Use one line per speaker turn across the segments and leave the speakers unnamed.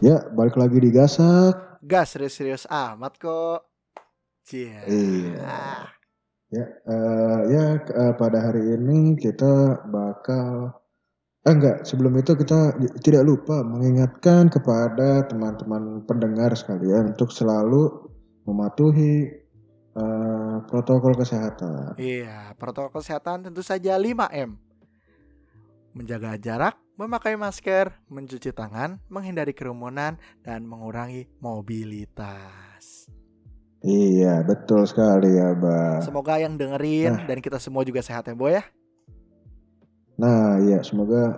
Ya, balik lagi di Gasak.
Gas serius-serius amat kok. Cie.
Iya.
Ah,
Ya, eh, ya eh, pada hari ini kita bakal eh enggak, sebelum itu kita di- tidak lupa mengingatkan kepada teman-teman pendengar sekalian untuk selalu mematuhi eh, protokol kesehatan.
Iya, protokol kesehatan tentu saja 5M. Menjaga jarak, memakai masker, mencuci tangan, menghindari kerumunan dan mengurangi mobilitas.
Iya, betul sekali ya, Bang.
Semoga yang
Ah.
dengerin dan kita semua juga sehat ya, Boy ya.
Nah, iya semoga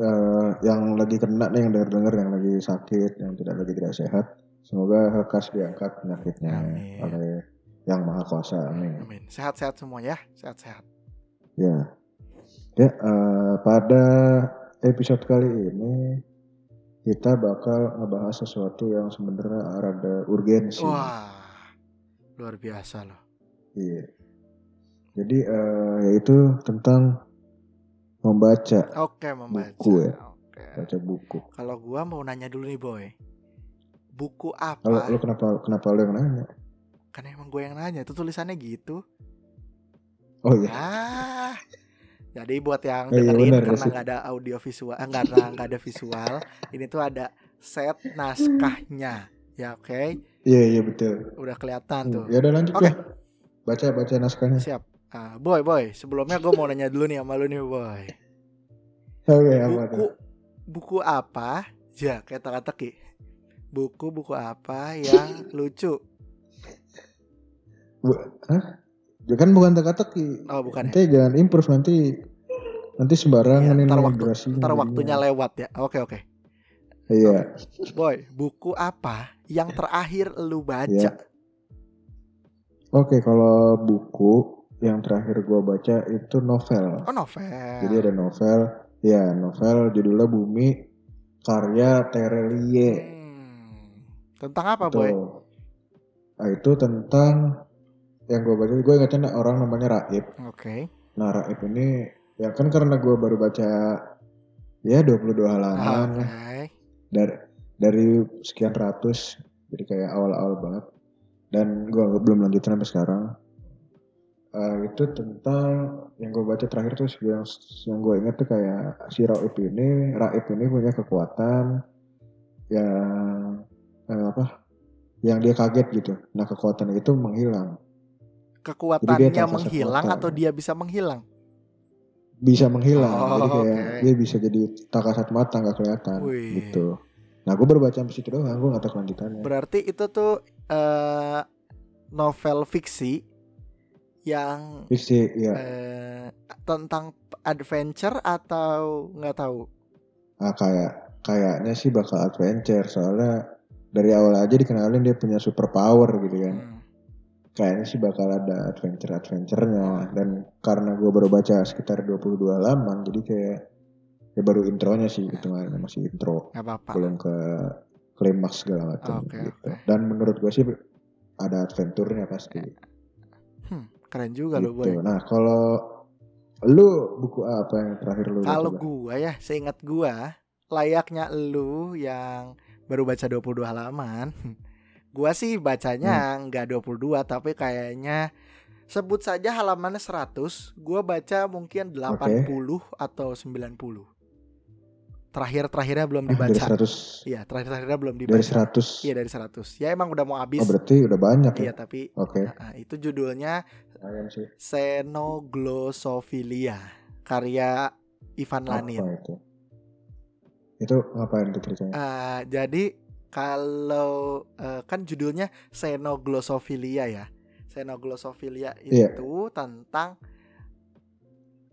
eh, yang lagi kena nih yang dengar-dengar yang lagi sakit, yang tidak lagi tidak sehat, semoga lekas diangkat penyakitnya
Amin.
oleh Yang Maha Kuasa. Amin.
Amin. Sehat-sehat semua ya. Sehat-sehat.
Ya. Ya, eh, pada episode kali ini kita bakal ngebahas sesuatu yang sebenarnya ada urgensi.
Wah. Luar biasa loh.
Iya. Jadi eh, yaitu tentang membaca,
Oke, membaca.
Buku ya.
Oke.
baca buku.
Kalau gua mau nanya dulu nih, Boy. Buku apa?
Kalau lu kenapa kenapa lu yang nanya?
Kan emang gue yang nanya, itu tulisannya gitu.
Oh iya.
Ah. Jadi buat yang
Eh, iya
dengerin
benar,
karena
sih.
nggak ada audio visual, eh, nggak ada nggak ada visual, ini tuh ada set naskahnya. Ya oke,
Iya iya betul.
udah kelihatan tuh.
Ya udah lanjut
Oke.
lah. Baca baca naskahnya.
Siap. Ah, boy, boy, sebelumnya gue mau nanya dulu nih sama lu nih, boy.
Oke Iya, apa
Buku
tuh?
buku apa? Ya, kayak teka-teki. Buku buku apa yang lucu?
Bu- Hah? Ya kan bukan teka-teki.
Oh, bukan ya.
Nanti jangan improve nanti nanti
Iya,
sembarangan ini
ntar waktu-
durasinya
Ntar
jadinya.
waktunya lewat ya. Oke, oke.
Iya.
Boy, buku apa yang terakhir lu baca?
Iya. Oke kalau buku yang terakhir gua baca itu novel.
Oh, novel.
Jadi ada novel. Ya novel judulnya Bumi karya Terelie.
Hmm. Tentang apa, Boy?
Tuh. Nah, itu tentang yang gue baca, gue ingatnya orang namanya Raib.
Oke.
Nah, Raib ini ya kan karena gue baru baca ya 22 halaman lah.
Oke.
dari dari sekian ratus jadi kayak awal-awal banget dan gue belum lanjutin sampai sekarang Eh, itu tentang yang gue baca terakhir tuh yang yang gue inget tuh kayak si Raib ini Raib ini punya kekuatan yang eh, apa yang dia kaget gitu nah kekuatan itu menghilang Jadi dia
Kekuatannya
tanpa
menghilang
kekuatan.
atau dia bisa menghilang?
bisa menghilang
Oh,
jadi kayak
oke.
dia bisa jadi tak kasat mata nggak kelihatan
Wih.
gitu nah gue baru baca sampai situ doang gue nggak tahu kelanjutannya
Berarti itu tuh eh novel fiksi yang
fiksi ya
eh tentang adventure atau nggak tahu? Eh.
ah, kayak kayaknya sih bakal adventure soalnya dari awal aja dikenalin dia punya super power gitu kan
Hmm.
kayaknya sih bakal ada adventure
Oh.
adventurenya dan karena gue baru baca sekitar 22 halaman jadi kayak ya baru intronya sih
Eh.
hitungannya masih intro
Nggak apa-apa.
belum ke klimaks segala macam
Oke,
gitu.
oke.
Dan menurut gue sih ada adventurnya pasti.
Hmm, keren juga lo, Boy.
gitu. Nah kalau lu buku apa yang terakhir lu?
Kalau
baca?
gua ya, seingat gua, layaknya lu yang baru baca 22 halaman. Gua sih bacanya
Hmm.
nggak 22 tapi kayaknya sebut saja halamannya 100, gua baca mungkin 80 atau 90. Terakhir-terakhirnya
Ah,
belum
dari
dibaca.
100
Iya, terakhir-terakhirnya belum
dari
dibaca.
100.
Iya, dari 100. Ya emang udah mau habis.
oh, berarti udah banyak ya.
Iya, tapi
Oke.
ah, itu judulnya
Lumayan sih.
Xenoglosophilia karya Ivan Lanin.
Apa itu? Itu ngapain tuh ceritanya?
Eh, jadi kalau eh, kan judulnya Xenoglosophilia ya. Xenoglosophilia itu
Iya.
tentang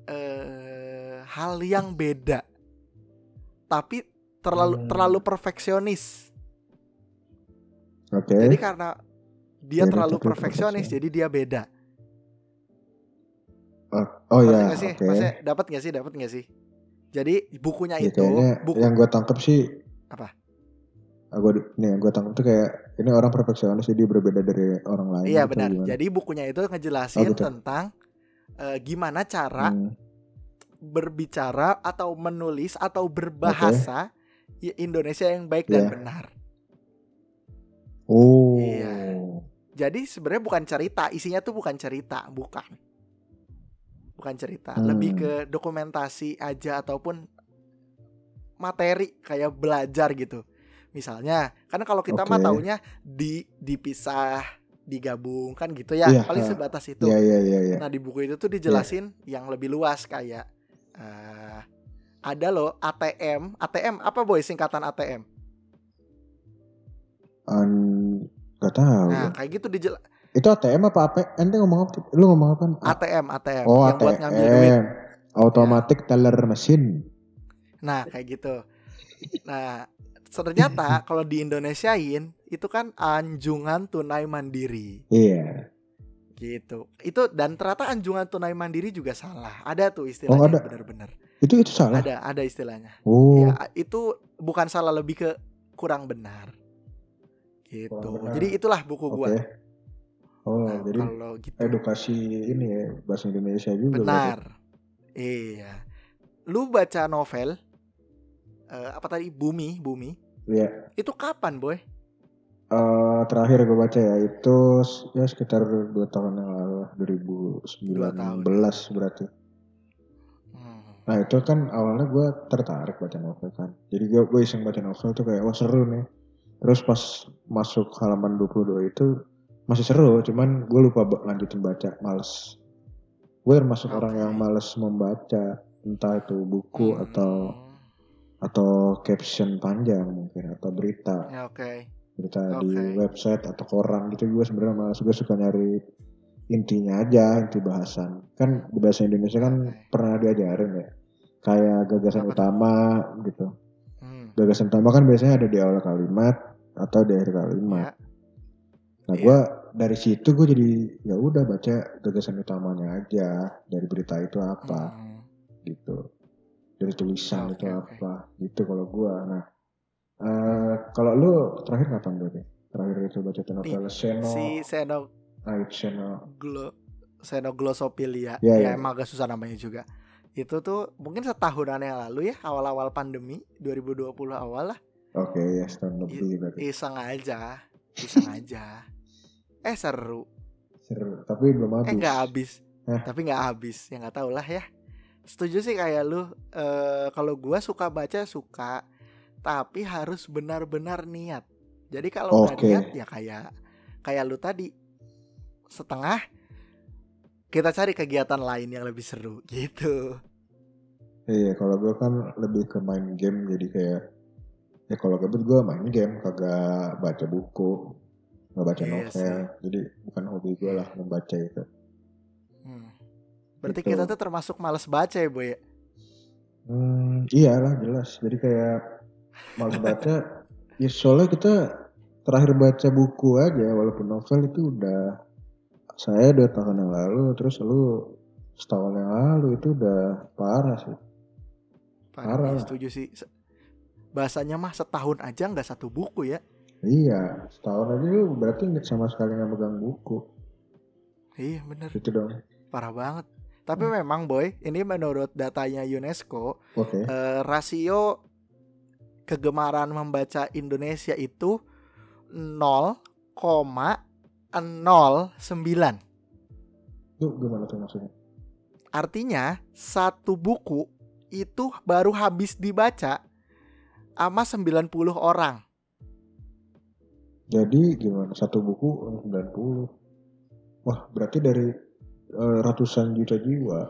eh hal yang beda tapi terlalu
Hmm.
terlalu perfeksionis.
Oke.
Ah, Jadi karena dia
Beda
terlalu
tapi
perfeksionis
perfeksionis.
jadi dia beda.
Oh
Maksudnya
ya,
nggak sih?
oke.
Maksudnya dapat nggak sih? Dapat nggak sih? Jadi bukunya
Ya,
itu
kayaknya
buku
yang gue tangkep sih
Apa?
Ah, gua, nih yang gue tangkep tuh kayak ini orang perfeksionis jadi berbeda dari orang lain.
Iya
gitu,
benar.
gimana?
Jadi bukunya itu ngejelasin
Oh, gitu.
tentang eh, gimana cara
Hmm,
berbicara atau menulis atau berbahasa I- Indonesia yang baik dan
Iya.
benar.
Oh.
Iya. Jadi sebenarnya bukan cerita, isinya tuh bukan cerita, bukan. Bukan cerita,
Hmm.
lebih ke dokumentasi aja ataupun materi kayak belajar gitu. Misalnya, karena kalau kita mah
Oke.
taunya di dipisah, digabung kan gitu ya,
Iya, ha.
paling sebatas itu.
Iya iya iya iya.
Nah di buku itu tuh dijelasin yang lebih luas kayak eh, ada loh ATM, ATM apa boy singkatan ATM?
An gak tahu.
Nah kayak gitu dijel
Itu ATM apa apa? Ente ngomong apa? Lu ngomong apa?
ATM, ATM
oh,
yang
ATM.
buat ngambil duit.
Automatic teller machine.
Nah kayak gitu. Nah ternyata kalau di Indonesiain itu kan anjungan tunai mandiri
Iya.
gitu. Itu dan ternyata anjungan tunai mandiri juga salah. Ada
Oh,
tuh istilahnya
ada.
benar-benar.
Itu itu salah.
Ada ada istilahnya.
Oh.
Ya, itu bukan salah lebih ke kurang benar. Gitu.
Kurang benar.
Jadi itulah buku
Oke.
gua.
Oh,
Nah,
jadi
kalau gitu
edukasi ini ya bahasa Indonesia juga.
benar. Iya. Lu baca novel eh, apa tadi Bumi, Bumi.
Iya.
Itu kapan, Boy?
Eh, terakhir gue baca ya itu s- ya sekitar dua tahun yang lalu lah, 2019 berarti.
Hmm.
Nah itu kan awalnya gue tertarik baca novel kan. Jadi gue gue iseng baca novel tuh kayak wah seru nih. Terus pas masuk halaman 22 itu masih seru, cuman gue lupa ba- lanjutin baca, males. Gue termasuk orang
Oke.
yang males membaca entah itu buku
Hmm.
atau atau caption panjang mungkin atau berita
Ya, oke.
berita di
Oke.
website atau koran gitu gue sebenarnya malas gue suka nyari intinya aja inti bahasan kan di bahasa Indonesia kan
Oke.
pernah diajarin ya kayak gagasan
Apa tuh?
utama gitu
Hmm.
gagasan utama kan biasanya ada di awal kalimat atau di akhir kalimat
Ya.
nah
Iya.
gue dari situ gue jadi ya udah baca gagasan utamanya aja dari berita itu apa
Hmm.
gitu dari tulisan
Oke,
itu
oke.
apa gitu kalau gua nah eh, kalau lu terakhir kapan berarti terakhir itu baca novel Seno
Si Seno
Aib Seno
glo Xenoglosophilia
Ya, ya.
ya emang agak susah namanya juga itu tuh mungkin setahunan yang lalu ya awal-awal pandemi 2020 awal lah
oke ya
Iya.
setahun lebih berarti
iseng aja iseng aja eh seru
seru tapi belum habis
eh nggak habis
Hah?
tapi nggak habis ya nggak tau lah ya setuju sih kayak lu eh, kalau gua suka baca suka tapi harus benar-benar niat jadi kalau nggak
Oke.
niat ya kayak kayak lu tadi setengah kita cari kegiatan lain yang lebih seru gitu
iya kalau gua kan lebih ke main game jadi kayak ya kalau gabut gua main game kagak baca buku nggak baca
Iya
novel
sih.
jadi bukan hobi gua lah membaca itu
Hmm. berarti
Gitu.
kita tuh termasuk males baca ya boy ya?
Hmm, iyalah jelas. Jadi kayak malas baca. ya soalnya kita terakhir baca buku aja, walaupun novel itu udah saya dua tahun yang lalu, terus lu setahun yang lalu itu udah parah sih. Parah
Parah,
lah.
setuju sih Se- bahasanya mah setahun aja nggak satu buku ya
Iya, setahun aja lu berarti nggak sama sekali nggak megang buku.
iya bener
Gitu dong.
parah banget tapi memang boy ini menurut datanya UNESCO
Oke.
eh, rasio kegemaran membaca Indonesia itu 0,09.
Itu gimana tuh maksudnya?
Artinya satu buku itu baru habis dibaca sama 90 orang.
Jadi gimana? Satu buku 90. Wah, berarti dari eh, ratusan juta jiwa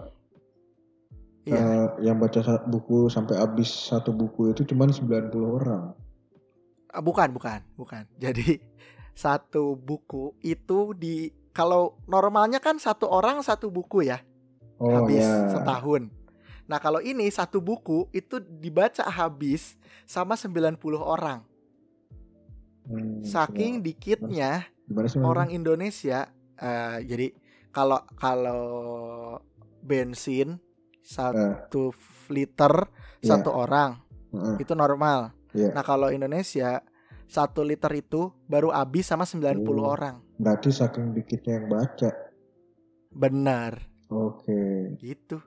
Iya,
Eh, yang baca sa- buku sampai habis satu buku itu cuman 90 orang.
Ah, bukan, bukan, bukan. Jadi satu buku itu di kalau normalnya kan satu orang satu buku ya.
Oh
habis
ya.
setahun. Nah kalau ini satu buku itu dibaca habis sama 90 orang.
Hmm,
Saking dikitnya
gimana- gimana sih namanya?
orang Indonesia. eh, jadi kalau kalau bensin satu liter
Eh. Iya.
satu orang
Heeh.
itu normal.
Iya.
Nah kalau Indonesia satu liter itu baru habis sama 90
Oh.
orang.
Berarti saking dikitnya yang baca.
Benar.
Oke.
gitu.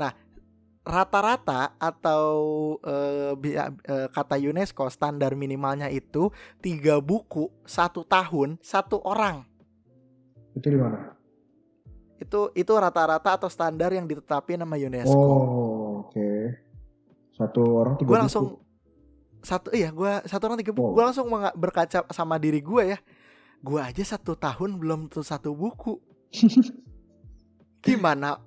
Nah, rata-rata atau eh, bi- eh, kata UNESCO standar minimalnya itu tiga buku satu tahun satu orang
Itu di mana?
itu itu rata-rata atau standar yang ditetapin sama UNESCO.
Oh, oke. Satu orang tiga
gue
buku. Oh.
langsung satu iya gua satu orang tiga buku.
Wow.
Gue langsung menga- berkaca sama diri gue ya. Gue aja satu tahun belum tuh satu buku. Gimana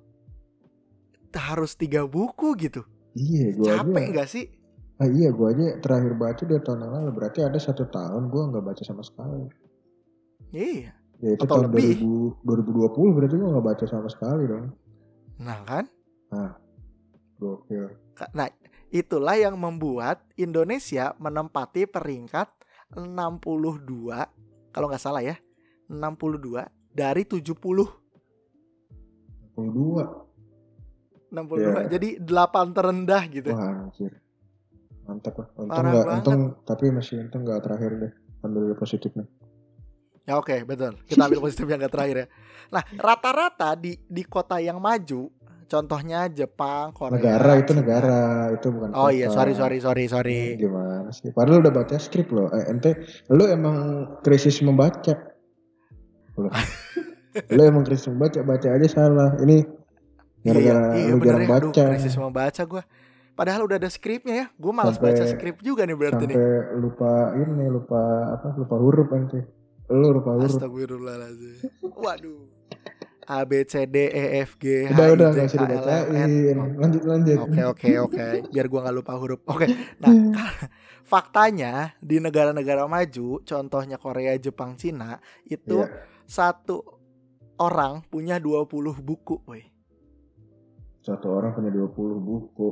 harus tiga buku gitu?
Iya, gue aja.
Capek nggak sih?
Ah, iya, gue aja terakhir baca dua tahun yang lalu. Berarti ada satu tahun gue nggak baca sama sekali.
Iya.
Ya itu
Atau
tahun
lebih.
2000, 2020 berarti gue nggak baca sama sekali dong.
Nah kan?
Gokil.
Ka- Nah, itulah yang membuat Indonesia menempati peringkat 62 kalau nggak salah ya. 62 dari 70
62.
62.
Iya.
Jadi 8 terendah gitu.
Wah anjir. Mantap lah. Untung
Parah
nggak,
banget.
untung tapi masih untung nggak terakhir deh. Ambil positifnya.
Ya oke, betul. Kita ambil positif yang nggak terakhir ya. Nah, rata-rata di di kota yang maju, contohnya Jepang, Korea.
Negara itu
Cina.
negara itu bukan.
Oh iya,
kota.
sorry sorry sorry sorry.
Hmm, Gimana sih? Padahal udah baca skrip loh. Eh, ente, lu emang krisis membaca. Lu, lu emang krisis membaca, baca aja salah. Ini gara-gara
iya, iya,
lu
bener
jarang
ya. Aduh,
baca.
krisis membaca gue. Padahal udah ada skripnya ya. Gue malas
Sampai-
baca skrip juga nih berarti nih.
sampai lupa ini, lupa apa? Lupa huruf ente. Lu lupa huruf.
Astagfirullahaladzim. Waduh. A B C D E F G H
Udah
I
udah
J
nggak
K
usah
L M N.
dibacain. Lanjut lanjut.
Oke oke oke. Biar gua nggak lupa huruf. Oke. Nah, faktanya di negara-negara maju, contohnya Korea, Jepang, Cina, itu
Iya.
satu orang punya 20 buku, woi,
Satu orang punya 20 buku.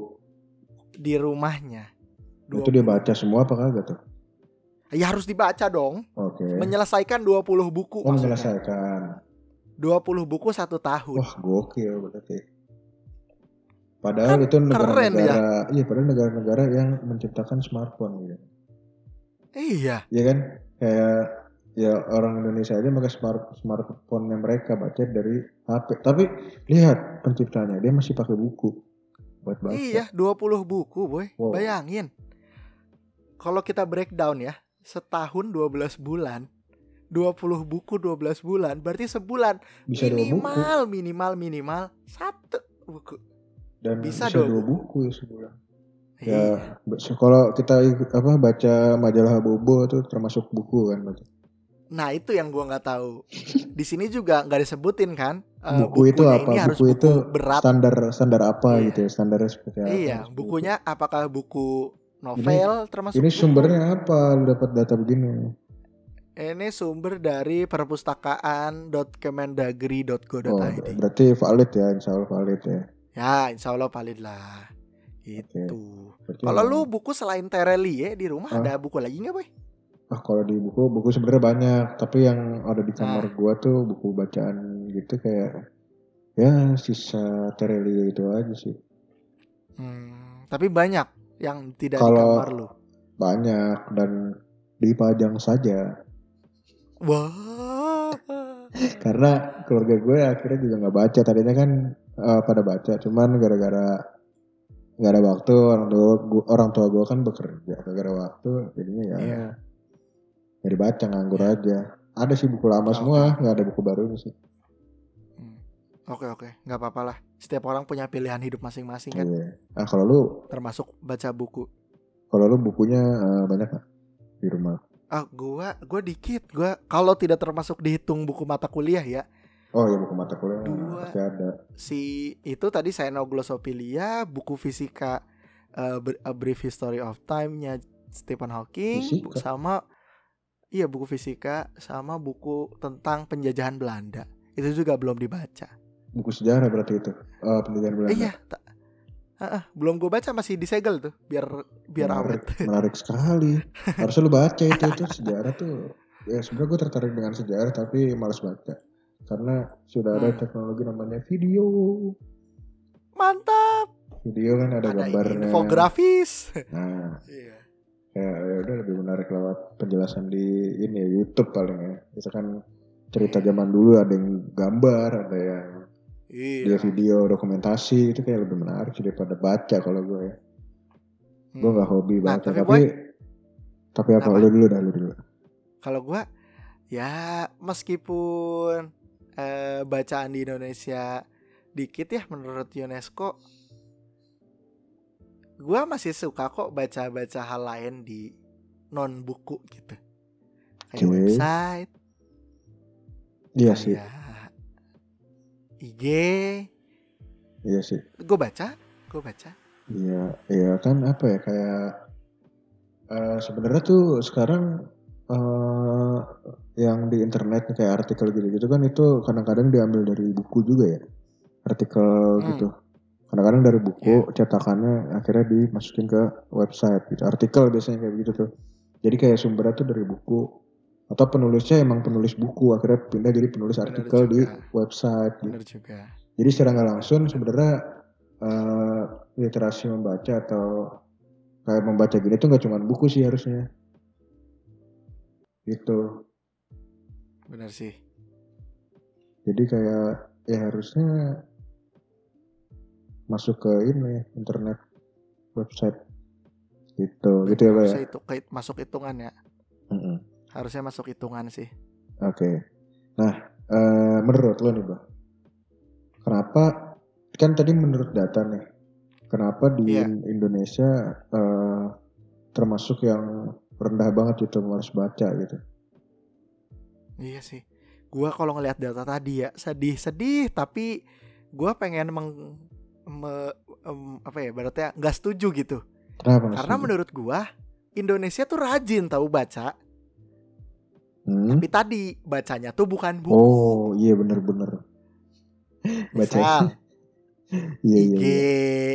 di rumahnya.
Itu dia baca semua apa kagak tuh?
Ya harus dibaca dong.
Oke.
Menyelesaikan 20 buku
Iya. Oh,
maksudnya.
menyelesaikan.
20 buku satu tahun.
Wah, gokil berarti. Padahal
Kan
itu
keren dia.
negara-negara, iya padahal negara-negara yang menciptakan smartphone gitu.
Iya,
Iya kan? Kayak ya orang Indonesia aja pakai smart smartphone yang mereka baca dari HP. Tapi lihat penciptanya, dia masih pakai buku buat baca.
iya 20 buku, boy.
Wow.
Bayangin. Kalau kita breakdown ya, setahun 12 bulan. 20 buku 12 bulan, berarti sebulan
Bisa dua buku
minimal minimal minimal satu buku.
dan
bisa
bisa,
dua
dua, buku ya sebulan.
Iya.
Ya, be- kalau kita ikut- apa baca majalah Bobo itu termasuk buku kan baca.
Nah itu yang gua nggak tahu. Di sini juga nggak disebutin kan. eh,
buku itu apa?
bukunya Ini
Buku,
harus
itu
berat.
standar standar apa
Iya.
gitu ya? Standarnya seperti apa?
Iya,
Buku.
bukunya apakah buku novel termasuk?
Ini
buku?
sumbernya apa? Lu dapat data begini?
Ini sumber dari perpustakaan.kemendagri.go.id.
Oh, berarti valid ya, insya Allah valid ya.
Ya, insya Allah valid lah. Itu.
Berarti
Kalau
emang-
lu buku selain Terelie di rumah
Hah?
ada buku lagi nggak, boy?
ah kalau di buku buku sebenarnya banyak, tapi yang ada
Nah.
di kamar gua tuh buku bacaan gitu kayak ya sisa Terelia itu aja sih.
Hmm, tapi banyak yang tidak di
Kalau-
kamar lu.
Banyak dan dipajang saja
Wah.
karena keluarga gue akhirnya juga nggak baca tadinya kan eh, pada baca cuman gara-gara nggak ada waktu orang tua gua, orang tua gue kan bekerja gara-gara waktu jadinya ya
Iya.
dari baca nganggur aja ada sih buku lama
Oke.
semua nggak ada buku baru sih
Hmm. Oke oke, nggak apa-apa lah. Setiap orang punya pilihan hidup masing-masing kan,
Iya. ah kalau lu
termasuk baca buku.
kalau lu bukunya eh, banyak nggak di rumah
Ah, gua gua dikit. Gua kalau tidak termasuk dihitung buku mata kuliah ya,
oh ya buku mata kuliah
Dua.
pasti ada
si itu tadi Glossophilia, buku fisika eh, Br- A Brief History of Time-nya Stephen Hawking, bu-
Fisika?
sama iya buku fisika sama buku tentang penjajahan Belanda. Itu juga belum dibaca.
buku sejarah berarti itu Eh pendidikan Belanda
Eh, iya, ta- Ah, ah, belum gue baca masih disegel tuh biar biar awet.
menarik, menarik sekali. Harusnya lu baca itu itu sejarah tuh. Ya sebenarnya gue tertarik dengan sejarah tapi malas baca karena sudah ada
Hmm.
teknologi namanya video.
Mantap.
Video kan ada,
Ada
gambarnya.
infografis.
Nah,
Iya.
ya, ya udah lebih menarik lewat penjelasan di ini
Hmm.
ya, YouTube paling ya. Itu kan cerita zaman dulu ada yang gambar, ada yang dia
Iya.
video dokumentasi itu kayak lebih menarik sih daripada baca kalau gue ya
Hmm.
gue nggak hobi
Nah,
baca
tapi
tapi
boy,
tapi, apa
kenapa?
lu dulu dah lu dulu
Kalau gua ya meskipun eh, bacaan di Indonesia dikit ya menurut UNESCO gua masih suka kok baca-baca hal lain di non buku gitu. Kayak
Oke.
website,
iya sih
kayak IG,
iya sih
gue baca, gue baca.
iya iya kan apa ya kayak eh, sebenarnya tuh sekarang eh yang di internet nih, kayak artikel gitu-gitu kan itu kadang-kadang diambil dari buku juga ya artikel
Hmm. Iya.
gitu kadang-kadang dari buku cetakannya akhirnya dimasukin ke website gitu artikel biasanya kayak begitu tuh jadi kayak sumbernya tuh dari buku atau penulisnya emang penulis buku akhirnya pindah jadi penulis
Bener
artikel di
juga.
website gitu.
Bener juga.
Jadi secara nggak langsung sebenarnya eh, literasi membaca atau kayak membaca gini tuh nggak cuma buku sih harusnya. Gitu.
Bener sih.
Jadi kayak ya harusnya masuk ke ini internet website gitu gitu ya pak ya.
Harusnya itu kayak masuk hitungan ya.
Mm-mm.
Harusnya masuk hitungan sih.
Oke. Nah eh, menurut lo nih bang, kenapa kan tadi menurut data nih kenapa di
Iya.
Indonesia eh, termasuk yang rendah banget itu harus baca gitu.
Iya sih. Gua kalau ngelihat data tadi ya sedih-sedih tapi gua pengen meng me- em, apa ya berarti nggak setuju gitu.
Kenapa? Mas?
Karena menurut gua Indonesia tuh rajin tahu baca,
Hmm?
tapi tadi bacanya tuh bukan buku.
Oh iya bener-bener.
Misal,
Baca. Iya iya
IG,
iya.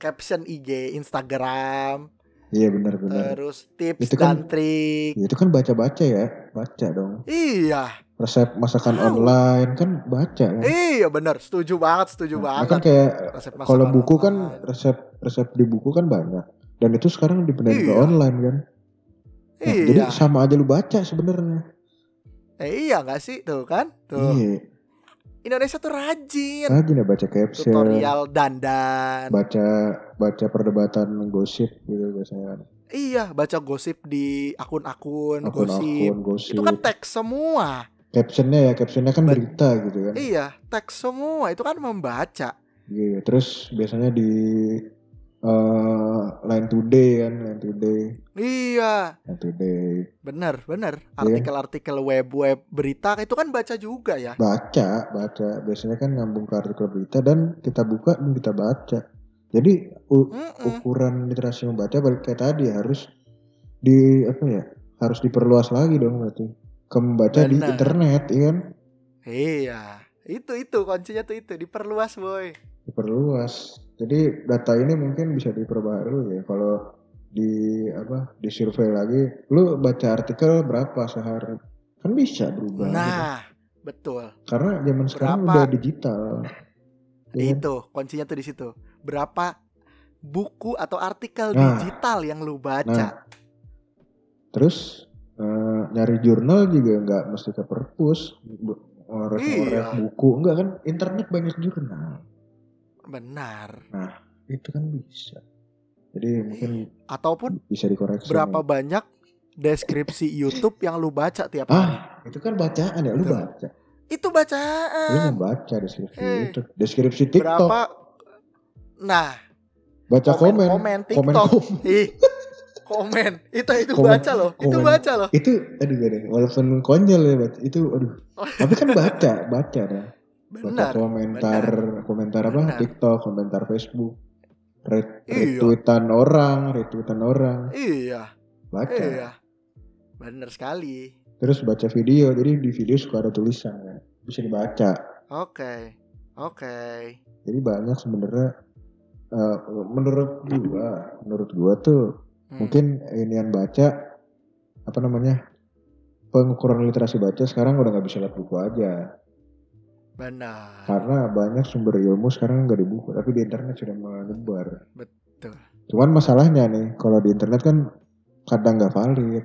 caption IG, Instagram,
Iya bener-bener.
terus tips
Itu kan-
dan trik.
Itu kan baca-baca ya, baca dong.
Iya,
Resep masakan
Tahu.
online kan baca kan.
iya bener, setuju banget, setuju
Nah, kan
banget.
kayak
Resep
Kalau
masakan
buku kan
online.
resep resep di buku kan banyak dan itu sekarang dibenerin ke
Iya.
online kan. Nah,
iya,
Jadi sama aja lu baca sebenarnya.
Eh, iya nggak sih tuh kan? Tuh
Iya.
Indonesia tuh rajin
Lagi nih baca caption,
Kan tutorial kan. dandan.
baca baca perdebatan gosip gitu biasanya kan.
Iya baca gosip di akun-akun gosip.
Akun-akun Iya. gosip.
Itu kan teks semua.
Captionnya ya captionnya kan
Ba-
berita gitu kan.
Iya teks semua itu kan membaca.
Iya. Terus biasanya di eh, Line Today kan, Line Today,
Iya
Line Today.
bener bener.
Iya.
Artikel-artikel web-web berita itu kan baca juga ya.
baca baca biasanya kan nyambung ke artikel berita dan kita buka dan kita baca jadi u-
Mm-mm.
ukuran literasi membaca balik kayak tadi harus di apa ya harus diperluas lagi dong berarti ke membaca di
Benar.
internet iya kan
Iya itu itu kuncinya tuh itu diperluas boy.
diperluas jadi data ini mungkin bisa diperbarui ya kalau di apa disurvei lagi lu baca artikel berapa sehari kan bisa berubah gitu.
Nah betul.
karena zaman sekarang
Berapa?
udah digital kan? Iya kan?
Itu kuncinya tuh di situ. Berapa buku atau artikel
Nah.
digital yang lu baca?
Terus eh, nyari jurnal juga nggak mesti ke perpus, bu- ngorek ngorek
Iya.
buku enggak kan? Internet banyak jurnal,
Benar.
itu kan bisa. Jadi mungkin
Ataupun
bisa dikoreksi.
berapa banyak deskripsi YouTube yang lu baca tiap hari?
Ah, itu kan bacaan ya, lu
Betul.
baca,
Itu
lu
bacaan.
membaca deskripsi
Eh.
itu, deskripsi TikTok,
Berapa? Nah,
baca komen,
komen
komen, komen.
TikTok. Ih. Komen. Itu itu
Komen-
baca loh. Itu
komen.
baca loh.
Itu aduh gak deh, walaupun konyol ya baca, itu aduh. Tapi kan baca, baca dah. baca
Benar.
komentar komentar apa
Benar.
TikTok komentar Facebook ret-
Iya.
retweetan orang retweetan orang
Iya.
baca
Iya. Benar sekali.
terus baca video jadi di video suka ada tulisan kan. bisa dibaca
Oke. Oke.
jadi banyak sebenarnya eh, menurut gua menurut gua tuh
Hmm.
mungkin ini yang baca apa namanya pengukuran literasi baca sekarang udah nggak bisa lihat buku aja
benar.
karena banyak sumber ilmu sekarang nggak di buku tapi di internet sudah menyebar
Betul.
Cuman masalahnya nih, kalau di internet kan kadang nggak valid.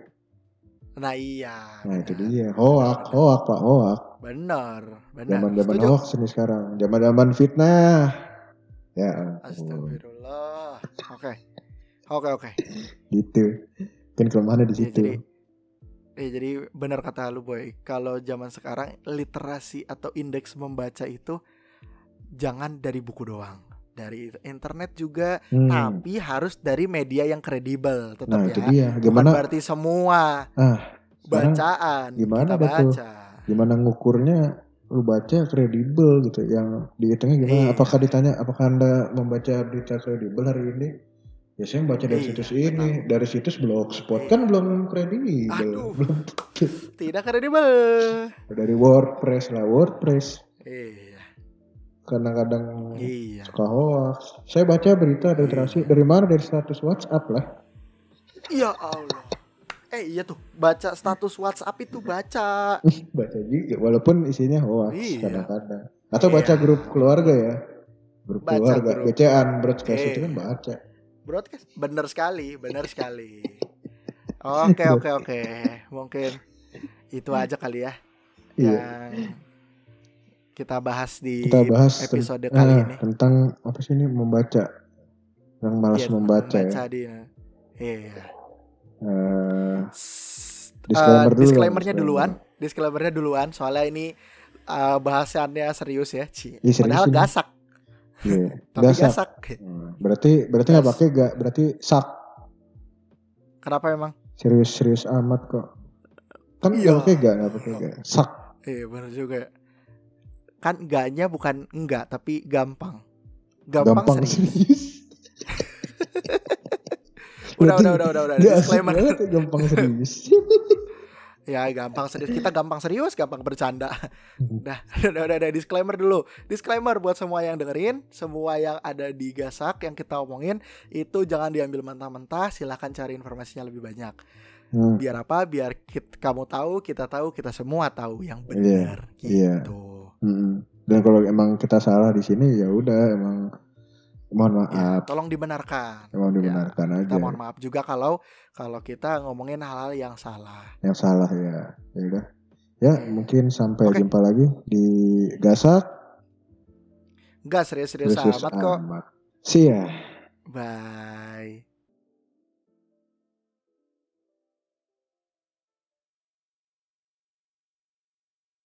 Nah iya.
Nah itu
benar.
dia, hoak, hoak pak, hoak.
Bener, bener.
zaman zaman
Setuju.
hoax ini sekarang zaman zaman fitnah ya ampun
Astagfirullah. Oke. Oke, oke.
gitu kan kelemahannya di
Iya,
situ
jadi- Eh jadi benar kata lu boy, kalau zaman sekarang literasi atau indeks membaca itu jangan dari buku doang, dari internet juga,
Hmm.
tapi harus dari media yang kredibel tetap
nah
ya.
itu dia
Bukan
gimana
berarti semua
Ah, sekarang
bacaan
gimana dah
kita
tuh?
baca.
gimana ngukurnya lu baca kredibel gitu yang dihitungnya gimana
Iya.
apakah ditanya apakah anda membaca berita kredibel hari ini biasanya baca dari
Iya,
situs ini dari situs blogspot
Iya.
kan belum kredibel
Aduh.
belum
Tidak kredibel.
dari wordpress lah wordpress
Iya,
kadang-kadang
iya.
suka hoax saya baca berita dari literasi dari mana dari status whatsapp lah
Ya Allah. Eh iya tuh, baca status WhatsApp itu baca.
baca juga walaupun isinya hoax
Iya.
kadang-kadang atau baca
Iya.
grup keluarga ya grup
Baca
keluarga
grup.
BCAan broadcast
Iya.
itu kan baca
broadcast bener sekali bener sekali oke oke oke mungkin itu aja kali ya
iya
yang kita bahas di
kita bahas ten-
episode kali
ah,
ini
tentang apa sih ini membaca yang malas
Iya,
membaca ya
di iya
Eh,
S-
Disclaimer
eh,
dulu,
disclaimernya
disclaimer.
duluan disclaimernya duluan soalnya ini eh, bahasannya serius ya Ci.
Iya, serius
padahal
ini.
gasak
iya
tapi
Gasak.
gasak
Hmm, berarti berarti nggak
Gas.
pakai gak berarti sak
kenapa emang
serius serius amat kok kan
Iya.
nggak pakai gak nggak pakai gak sak
iya bener juga kan enggaknya bukan enggak tapi gampang gampang,
gampang
serius.
serius
udah,
Berarti
udah, udah, udah, udah.
nggak asik
Disclaimer.
banget ya, gampang serius
Ya gampang serius kita gampang serius, gampang bercanda. Dah, udah, udah, udah, disclaimer dulu. Disclaimer buat semua yang dengerin, semua yang ada di Gasak yang kita omongin itu jangan diambil mentah-mentah, silahkan cari informasinya lebih banyak.
Hmm,
Biar apa? Biar kit- kamu tahu, kita tahu, kita semua tahu yang
Iya,
benar
iya.
gitu.
mm-mm. dan kalau emang kita salah di sini ya udah emang mohon
Ya,
maaf
tolong dibenarkan.
emang dibenarkan aja
Iya. Kita mohon maaf juga kalau kalau kita ngomongin hal-hal yang salah.
yang salah ya ya udah ya
Iya.
mungkin sampai
Oke.
jumpa lagi di gasak
Enggak serius-serius
versus
amat kok.
amat. see ya
Bye.